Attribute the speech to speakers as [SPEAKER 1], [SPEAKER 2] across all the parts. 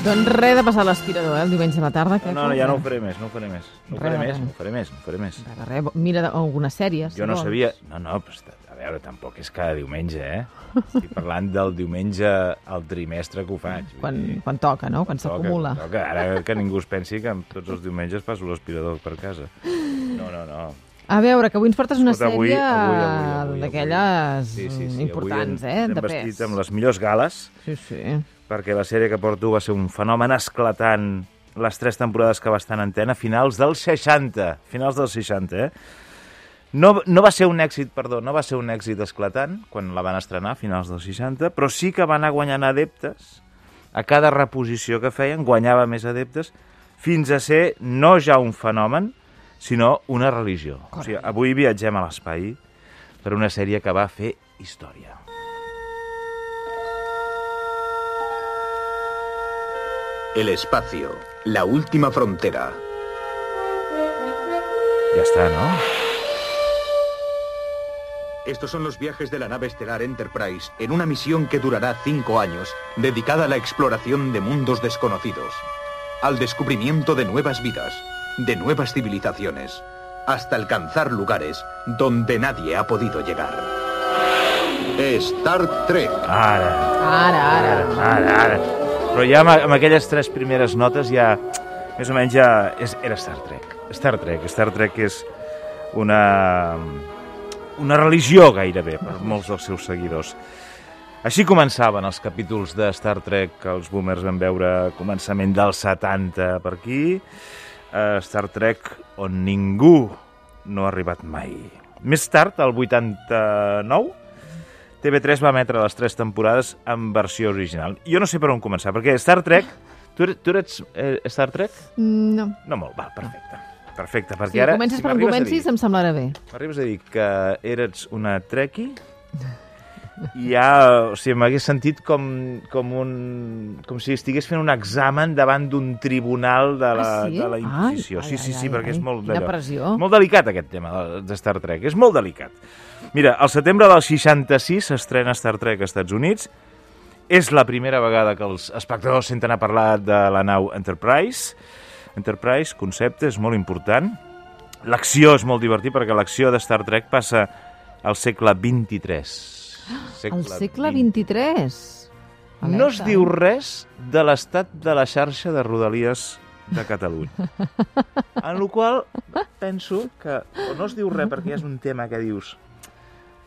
[SPEAKER 1] Doncs res de passar l'aspirador, eh, el diumenge a la tarda.
[SPEAKER 2] No, no, ja no ho faré més, no ho faré més. No ho
[SPEAKER 1] Res,
[SPEAKER 2] faré més,
[SPEAKER 1] res.
[SPEAKER 2] no ho faré més, no ho faré més.
[SPEAKER 1] Res, de res, bo- mira de- algunes sèries.
[SPEAKER 2] Jo
[SPEAKER 1] si
[SPEAKER 2] no
[SPEAKER 1] vols.
[SPEAKER 2] sabia... No, no, però està- a veure, tampoc és cada diumenge, eh? Estic parlant del diumenge al trimestre que ho faig. vull
[SPEAKER 1] Quan,
[SPEAKER 2] dir,
[SPEAKER 1] quan toca, no? Quan
[SPEAKER 2] toca,
[SPEAKER 1] s'acumula.
[SPEAKER 2] Toca, ara que ningú es pensi que amb tots els diumenges passo l'aspirador per casa. No, no, no.
[SPEAKER 1] A veure, que avui ens portes una
[SPEAKER 2] Escolta,
[SPEAKER 1] sèrie
[SPEAKER 2] avui- avui, avui, avui, avui.
[SPEAKER 1] d'aquelles
[SPEAKER 2] Sí, sí, sí.
[SPEAKER 1] Mm, importants,
[SPEAKER 2] avui
[SPEAKER 1] eh?
[SPEAKER 2] ens
[SPEAKER 1] De
[SPEAKER 2] hem
[SPEAKER 1] pes.
[SPEAKER 2] vestit amb les millors gales.
[SPEAKER 1] Sí, sí.
[SPEAKER 2] perquè la sèrie que porto va ser un fenomen esclatant les tres temporades que va estar en antena, finals dels 60, finals dels 60, eh? No, no va ser un èxit, perdó, no va ser un èxit esclatant quan la van estrenar, a finals dels 60, però sí que va anar guanyant adeptes. A cada reposició que feien guanyava més adeptes fins a ser no ja un fenomen, sinó una religió. O sigui, avui viatgem a l'espai per una sèrie que va fer història.
[SPEAKER 3] El espacio, la última frontera.
[SPEAKER 2] Ja està, no?
[SPEAKER 3] Estos son los viajes de la nave estelar Enterprise en una misión que durará cinco años, dedicada a la exploración de mundos desconocidos, al descubrimiento de nuevas vidas, de nuevas civilizaciones, hasta alcanzar lugares donde nadie ha podido llegar. Star Trek.
[SPEAKER 2] Ara...
[SPEAKER 1] Ara, ara.
[SPEAKER 2] Ara, ara. Però ja amb, amb aquelles tres primeres notes ja, més o menys, ja és, era Star Trek. Star Trek. Star Trek és una, una religió gairebé per molts dels seus seguidors. Així començaven els capítols de Star Trek que els boomers van veure a començament dels 70 per aquí. Eh, Star Trek on ningú no ha arribat mai. Més tard, el 89, TV3 va emetre les tres temporades en versió original. Jo no sé per on començar, perquè Star Trek... Tu, eres- tu ets eh, Star Trek?
[SPEAKER 1] No.
[SPEAKER 2] No molt, val, perfecte. Perfecte, perquè
[SPEAKER 1] Si
[SPEAKER 2] ara...
[SPEAKER 1] comences per on
[SPEAKER 2] m'arribes a
[SPEAKER 1] comencis,
[SPEAKER 2] dir-
[SPEAKER 1] em semblarà bé.
[SPEAKER 2] M'arribes a dir que eres una treki i ja, o sigui, m'hagués sentit com, com, un, com si estigués fent un examen davant d'un tribunal de la,
[SPEAKER 1] ah, sí?
[SPEAKER 2] de la Inquisició.
[SPEAKER 1] Ai,
[SPEAKER 2] sí,
[SPEAKER 1] ai,
[SPEAKER 2] sí, sí,
[SPEAKER 1] ai,
[SPEAKER 2] perquè
[SPEAKER 1] ai.
[SPEAKER 2] és molt
[SPEAKER 1] Quina
[SPEAKER 2] d'allò.
[SPEAKER 1] pressió.
[SPEAKER 2] Molt delicat aquest tema de- de Star Trek, és molt delicat. Mira, al setembre del 66 s'estrena Star Trek als Estats Units. És la primera vegada que els espectadors senten a parlar de la nau Enterprise. Enterprise, concepte, és molt important. L'acció és molt divertit perquè l'acció de Star Trek passa al segle 23.
[SPEAKER 1] Al segle XXIII.
[SPEAKER 2] No
[SPEAKER 1] eh?
[SPEAKER 2] es diu res de l'estat de la xarxa de Rodalies de Catalunya. En la qual penso que o no es diu res perquè és un tema que dius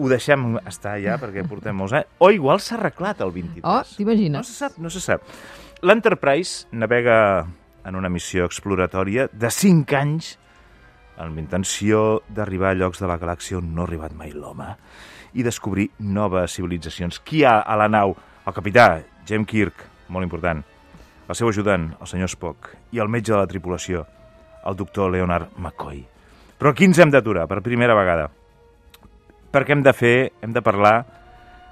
[SPEAKER 2] ho deixem estar ja perquè portem molts anys, o igual s'ha arreglat el 23.
[SPEAKER 1] Oh,
[SPEAKER 2] no
[SPEAKER 1] t'imagines?
[SPEAKER 2] se sap, no se sap. L'Enterprise navega en una missió exploratòria de 5 anys amb l'intenció d'arribar a llocs de la galàxia on no ha arribat mai l'home i descobrir noves civilitzacions. Qui hi ha a la nau? El capità, James Kirk, molt important, el seu ajudant, el senyor Spock, i el metge de la tripulació, el doctor Leonard McCoy. Però aquí ens hem d'aturar, per primera vegada, perquè hem de fer, hem de parlar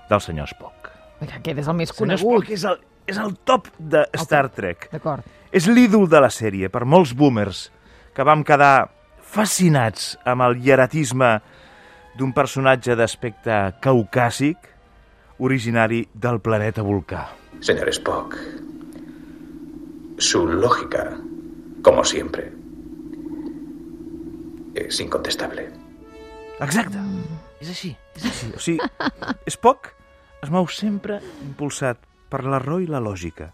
[SPEAKER 2] del senyor Spock.
[SPEAKER 1] Que aquest és el més
[SPEAKER 2] Senyor
[SPEAKER 1] conegut.
[SPEAKER 2] Spock és el, és el top de Star Trek.
[SPEAKER 1] D'acord.
[SPEAKER 2] És l'ídol de la sèrie per molts boomers que vam quedar fascinats amb el hieratisme d'un personatge d'aspecte caucàsic originari del planeta Volcà.
[SPEAKER 3] Señor Spock, su lógica, como siempre, es incontestable.
[SPEAKER 2] Exacte. Mm. És així. És així. O sigui, Spock es mou sempre impulsat per l'error i la lògica.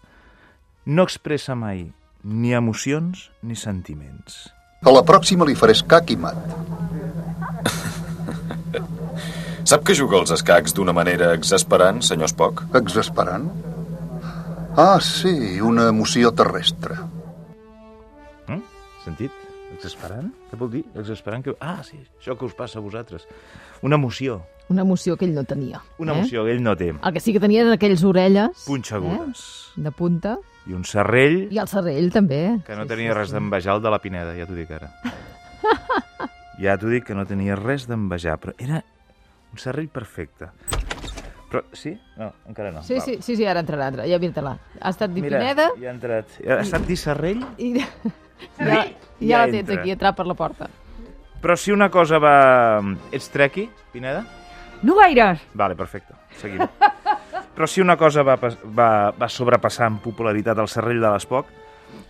[SPEAKER 2] No expressa mai ni emocions ni sentiments.
[SPEAKER 4] A la pròxima li faré escac i mat.
[SPEAKER 5] Sap que juga als escacs d'una manera exasperant, senyor Spock?
[SPEAKER 4] Exasperant? Ah, sí, una emoció terrestre.
[SPEAKER 2] Mm? Sentit? Exasperant? Què vol dir? Exasperant? Que... Ah, sí, això que us passa a vosaltres. Una emoció.
[SPEAKER 1] Una emoció que ell no tenia. eh?
[SPEAKER 2] Una emoció que ell no té.
[SPEAKER 1] El que sí que tenia eren aquells orelles...
[SPEAKER 2] Punxegudes.
[SPEAKER 1] Eh? De punta.
[SPEAKER 2] I un serrell
[SPEAKER 1] I el cervell, també.
[SPEAKER 2] que no tenia res d'envejar el de la Pineda, ja t'ho dic ara. ja t'ho dic que no tenia res d'envejar, però era un serrell perfecte. Però sí? No, encara no.
[SPEAKER 1] Sí,
[SPEAKER 2] Val.
[SPEAKER 1] sí, sí, sí, ara entrarà, entrarà. Ja vindrà. Ha estat di
[SPEAKER 2] Mira,
[SPEAKER 1] Pineda
[SPEAKER 2] ja ha entrat. Ha estat dir serrell?
[SPEAKER 1] i... I ara, i
[SPEAKER 2] Ja
[SPEAKER 1] ara la tens
[SPEAKER 2] entra.
[SPEAKER 1] aquí, entrat per la porta.
[SPEAKER 2] Però si una cosa va... Ets trequi, Pineda?
[SPEAKER 6] No gaire.
[SPEAKER 2] Vale, perfecte. Seguim. Però si una cosa va, pas- va, va sobrepassar en popularitat el serrell de l'Espoc,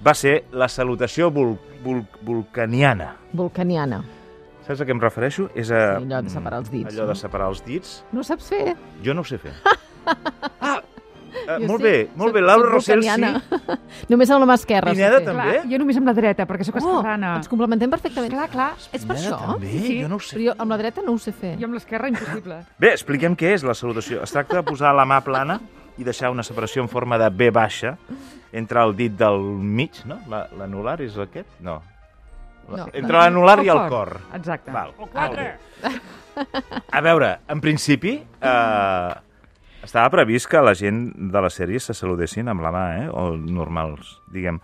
[SPEAKER 2] va ser la salutació vul, vul, vulcaniana.
[SPEAKER 1] Vulcaniana.
[SPEAKER 2] Saps a què em refereixo? És a...
[SPEAKER 1] Sí, allò de separar els dits,
[SPEAKER 2] Allò
[SPEAKER 1] no?
[SPEAKER 2] de separar els dits.
[SPEAKER 1] No ho saps fer?
[SPEAKER 2] Jo no ho sé fer. ah! Eh,
[SPEAKER 1] Jo
[SPEAKER 2] molt
[SPEAKER 1] sí.
[SPEAKER 2] bé, molt bé.
[SPEAKER 1] Soc-
[SPEAKER 2] Laura
[SPEAKER 1] soc
[SPEAKER 2] Rossell sí.
[SPEAKER 1] vulcaniana. Només amb la mà esquerra. sé
[SPEAKER 2] Pineda
[SPEAKER 1] fer.
[SPEAKER 2] també?
[SPEAKER 6] Clar, jo només amb la dreta, perquè sóc
[SPEAKER 1] Oh,
[SPEAKER 6] esquerrana.
[SPEAKER 1] ens complementem perfectament.
[SPEAKER 6] Clar, clar.
[SPEAKER 1] És per
[SPEAKER 2] Pineda
[SPEAKER 1] això?
[SPEAKER 2] també? Jo no ho sé.
[SPEAKER 1] Però jo amb la dreta no ho sé fer.
[SPEAKER 6] Jo amb l'esquerra, impossible.
[SPEAKER 2] Bé, expliquem què és la salutació. Es tracta de posar la mà plana i deixar una separació en forma de B baixa entre el dit del mig, no? La- L'anular és aquest? No.
[SPEAKER 1] No.
[SPEAKER 2] Entre l'anular i el
[SPEAKER 6] El cor.
[SPEAKER 2] cor.
[SPEAKER 6] Exacte.
[SPEAKER 2] Val. El quatre. A veure, en principi, eh, estava previst que la gent de la sèrie se saludessin amb la mà, eh? O normals, diguem.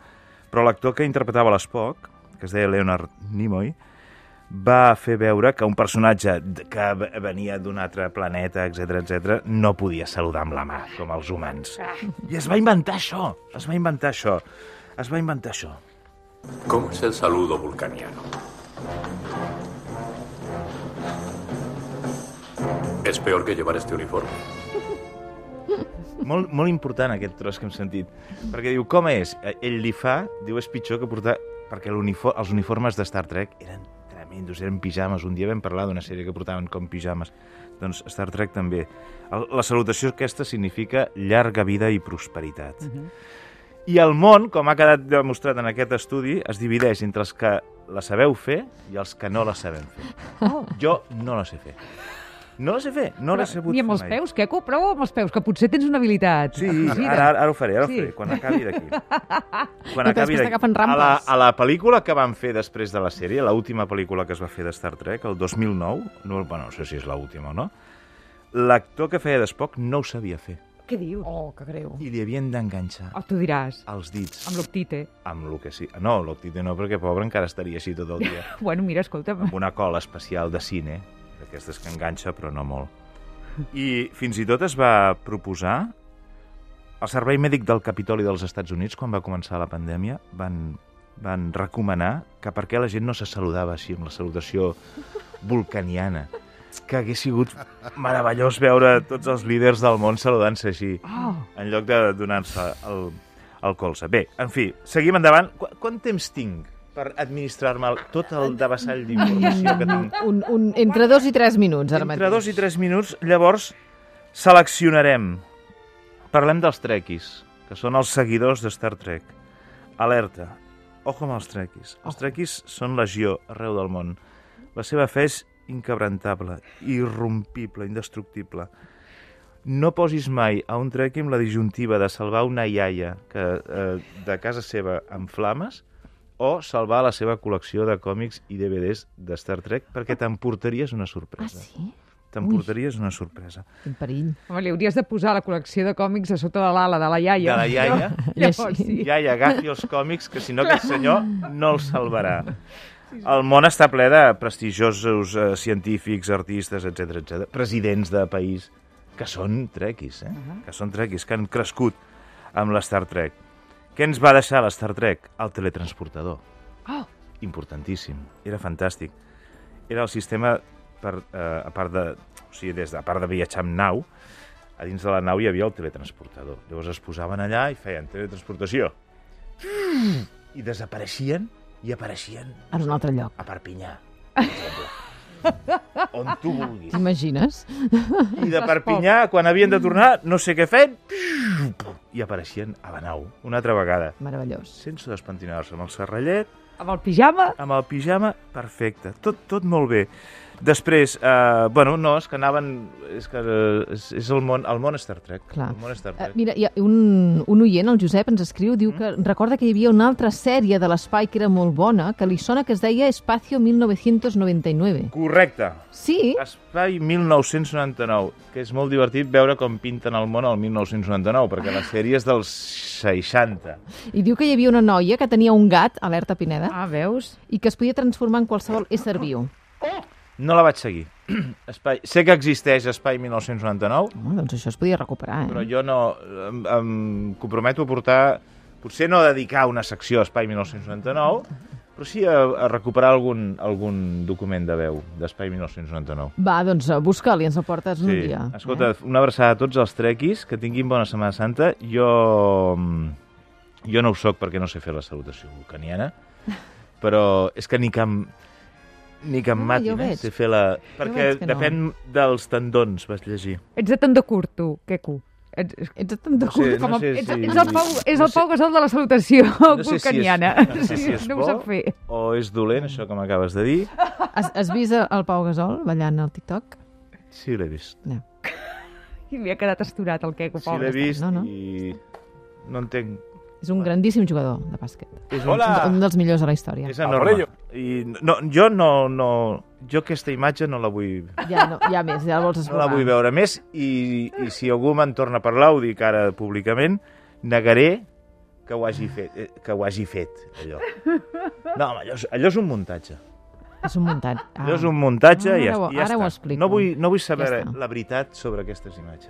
[SPEAKER 2] Però l'actor que interpretava l'Espoc, que es deia Leonard Nimoy, va fer veure que un personatge d- que v- venia d'un altre planeta, etc etc, no podia saludar amb la mà, com els humans. I es va inventar això, es va inventar això, es va inventar això.
[SPEAKER 7] ¿Cómo es el saludo vulcaniano? Es peor que llevar este uniforme.
[SPEAKER 2] Molt, molt important aquest tros que hem sentit, perquè diu, com és? Eh, Ell li fa, diu, és pitjor que portar... Perquè l'unifor- els uniformes de Star Trek eren tremendos, eren pijames. Un dia vam parlar d'una sèrie que portaven com pijames. Doncs Star Trek també. El, la salutació aquesta significa llarga vida i prosperitat.
[SPEAKER 6] Mhm.
[SPEAKER 2] I el món, com ha quedat demostrat en aquest estudi, es divideix entre els que la sabeu fer i els que no la sabem fer.
[SPEAKER 6] Oh.
[SPEAKER 2] Jo no la sé fer. No la sé fer, no la
[SPEAKER 6] Però
[SPEAKER 2] sé fer
[SPEAKER 6] Ni amb els
[SPEAKER 2] mai.
[SPEAKER 6] peus, Queco, prou amb els peus, que potser tens una habilitat.
[SPEAKER 2] Sí,
[SPEAKER 6] Mira.
[SPEAKER 2] ara, ara, ara ho faré, ara
[SPEAKER 6] Sí.
[SPEAKER 2] sí. ho faré, quan acabi d'aquí. Quan
[SPEAKER 1] No, que després t'agafen
[SPEAKER 2] A la,
[SPEAKER 1] rampes.
[SPEAKER 2] a la pel·lícula que van fer després de la sèrie, l'última pel·lícula que es va fer de Star Trek, el 2009, no, bueno, no sé si és l'última o no, l'actor que feia d'Espoc no ho sabia fer
[SPEAKER 6] Què dius? Oh,
[SPEAKER 1] Oh, que greu.
[SPEAKER 2] i li havien d'enganxar
[SPEAKER 6] tu diràs,
[SPEAKER 1] Oh.
[SPEAKER 2] els dits
[SPEAKER 6] amb l'octite.
[SPEAKER 2] amb lo que sí. No, l'octite no, perquè pobre encara estaria així tot el dia.
[SPEAKER 6] Bueno, mira, escolta'm.
[SPEAKER 2] amb una cola especial de cine, d'aquestes que enganxa però no molt. I fins i tot es va proposar el Servei Mèdic del Capitoli dels Estats Units, quan va començar la pandèmia, van, van recomanar que per què la gent no se saludava així, amb la salutació vulcaniana. Que hagués sigut meravellós veure tots els líders del món saludant-se així,
[SPEAKER 6] Oh,
[SPEAKER 2] en lloc de donar-se el, el colze. Bé, en fi, seguim endavant. Qu quant temps tinc per administrar-me el- tot el devassall d'informació que tinc?
[SPEAKER 1] Un, un, entre dos i tres minuts, ara mateix.
[SPEAKER 2] Entre dos i tres minuts, llavors, seleccionarem. Parlem dels trequis, que són els seguidors de Star Trek. Alerta. Ojo amb els trequis. Els trequis són legió arreu del món. La seva fe és inquebrantable, irrompible, indestructible. No posis mai a un trequi amb la disjuntiva de salvar una iaia que, eh, de casa seva amb flames o salvar la seva col·lecció de còmics i DVDs de Star Trek perquè t'emportaries una
[SPEAKER 1] Ah,
[SPEAKER 2] sorpresa
[SPEAKER 1] sí?
[SPEAKER 2] t'emportaries una sorpresa.
[SPEAKER 1] Quin perill.
[SPEAKER 6] home, li hauries de posar la col·lecció de còmics a sota de l'ala de la iaia.
[SPEAKER 2] De la iaia?
[SPEAKER 6] Llavors,
[SPEAKER 1] I així.
[SPEAKER 6] sí.
[SPEAKER 2] Iaia, agafi els còmics, que si no aquest senyor no els salvarà. El món està ple de prestigiosos eh, científics, artistes, etc etc, presidents de país, que són trequis, eh? Que són trequis, que han crescut amb l'Star Trek. Què ens va deixar l'Star Trek? El teletransportador.
[SPEAKER 6] Oh.
[SPEAKER 2] Importantíssim. Era fantàstic. Era el sistema per, eh, a part de... O sigui, des de, a part de viatjar amb nau, a dins de la nau hi havia el teletransportador. Llavors es posaven allà i feien teletransportació. I desapareixien i apareixien
[SPEAKER 1] En un altre lloc.
[SPEAKER 2] a Perpinyà. per exemple. On tu vulguis.
[SPEAKER 1] T'imagines?
[SPEAKER 2] I de Perpinyà, quan havien de tornar, no sé què feien, i apareixien a la nau, una altra vegada.
[SPEAKER 1] Meravellós.
[SPEAKER 2] Sense despentinar-se, amb el serrallet,
[SPEAKER 6] Amb el pijama.
[SPEAKER 2] amb el pijama, perfecte. Tot, tot molt bé. Després, eh, bueno, no, és que anaven... És que eh, és, és el món, el món Star Trek.
[SPEAKER 1] Clar.
[SPEAKER 2] El món Star
[SPEAKER 1] Eh,
[SPEAKER 2] Trek.
[SPEAKER 1] mira, hi ha un, un oient, el Josep, ens escriu,
[SPEAKER 2] Mm.
[SPEAKER 1] diu que recorda que hi havia una altra sèrie de l'espai que era molt bona, que li sona que es deia Espacio 1999.
[SPEAKER 2] Correcte.
[SPEAKER 1] Sí?
[SPEAKER 2] Ah. Espai 1999, que és molt divertit veure com pinten el món al 1999, perquè la sèrie és dels 60.
[SPEAKER 1] I diu que hi havia una noia que tenia un gat, alerta Pineda,
[SPEAKER 6] Ah, veus?
[SPEAKER 1] i que es podia transformar en qualsevol ésser viu.
[SPEAKER 2] No la vaig seguir. Espai... Sé que existeix Espai 1999,
[SPEAKER 1] Oh, doncs això es podia recuperar, eh?
[SPEAKER 2] però jo no... Em, em comprometo a portar... Potser no a dedicar una secció a Espai 1999, però sí a, a recuperar algun, algun document de veu d'Espai 1999.
[SPEAKER 1] Va, doncs eh, busca'l i ens el portes un
[SPEAKER 2] Sí.
[SPEAKER 1] dia. eh?
[SPEAKER 2] Escolta, una abraçada a tots els trequis, que tinguin bona Setmana Santa. Jo, mm, jo no ho soc perquè no sé fer la salutació vulcaniana, però és que ni que em, ni que em
[SPEAKER 1] No, jo
[SPEAKER 2] matin,
[SPEAKER 1] ho
[SPEAKER 2] eh?
[SPEAKER 1] veig.
[SPEAKER 2] Sé fer la... Perquè
[SPEAKER 1] veig que no.
[SPEAKER 2] depèn dels tendons, vas llegir.
[SPEAKER 6] Ets de tan de curt, tu, que cu. Ets,
[SPEAKER 1] Ets tan de
[SPEAKER 2] No sé,
[SPEAKER 1] cul
[SPEAKER 2] no
[SPEAKER 1] com a...
[SPEAKER 2] sé
[SPEAKER 6] ets,
[SPEAKER 2] si...
[SPEAKER 6] ets el Pau, és el Pau Gasol de la salutació
[SPEAKER 2] no sé si és-
[SPEAKER 6] vulcaniana.
[SPEAKER 2] no sé si és
[SPEAKER 6] no
[SPEAKER 2] bo.
[SPEAKER 6] ho sap fer.
[SPEAKER 2] O és dolent, això que m'acabes de dir?
[SPEAKER 1] Has, has vist el Pau Gasol ballant al TikTok?
[SPEAKER 2] Sí, l'he vist.
[SPEAKER 1] No.
[SPEAKER 6] I li ha quedat esturat el queco,
[SPEAKER 2] Sí, l'he
[SPEAKER 6] pobre.
[SPEAKER 2] vist
[SPEAKER 1] no, no.
[SPEAKER 2] i... No entenc.
[SPEAKER 1] És un grandíssim jugador de bàsquet.
[SPEAKER 2] És
[SPEAKER 1] Ah. Un
[SPEAKER 2] un...
[SPEAKER 1] dels millors de la història.
[SPEAKER 2] És enorme. I no, jo no, no... Jo aquesta imatge no la vull
[SPEAKER 1] Ja, no, ja més, ja el vols
[SPEAKER 2] no
[SPEAKER 1] esborrar.
[SPEAKER 2] la vull veure més i, i si algú me'n torna a parlar, ho dic ara públicament, negaré que ho hagi fet, eh, que ho hagi fet allò. No, home, allò, és, allò és un muntatge.
[SPEAKER 1] És un muntat. Ah.
[SPEAKER 2] Allò és un muntatge
[SPEAKER 1] Ah,
[SPEAKER 2] i ja,
[SPEAKER 1] ara ho-
[SPEAKER 2] i ja
[SPEAKER 1] ara
[SPEAKER 2] està.
[SPEAKER 1] ho explico.
[SPEAKER 2] No vull, no vull saber
[SPEAKER 1] Ja està.
[SPEAKER 2] la veritat sobre aquestes imatges.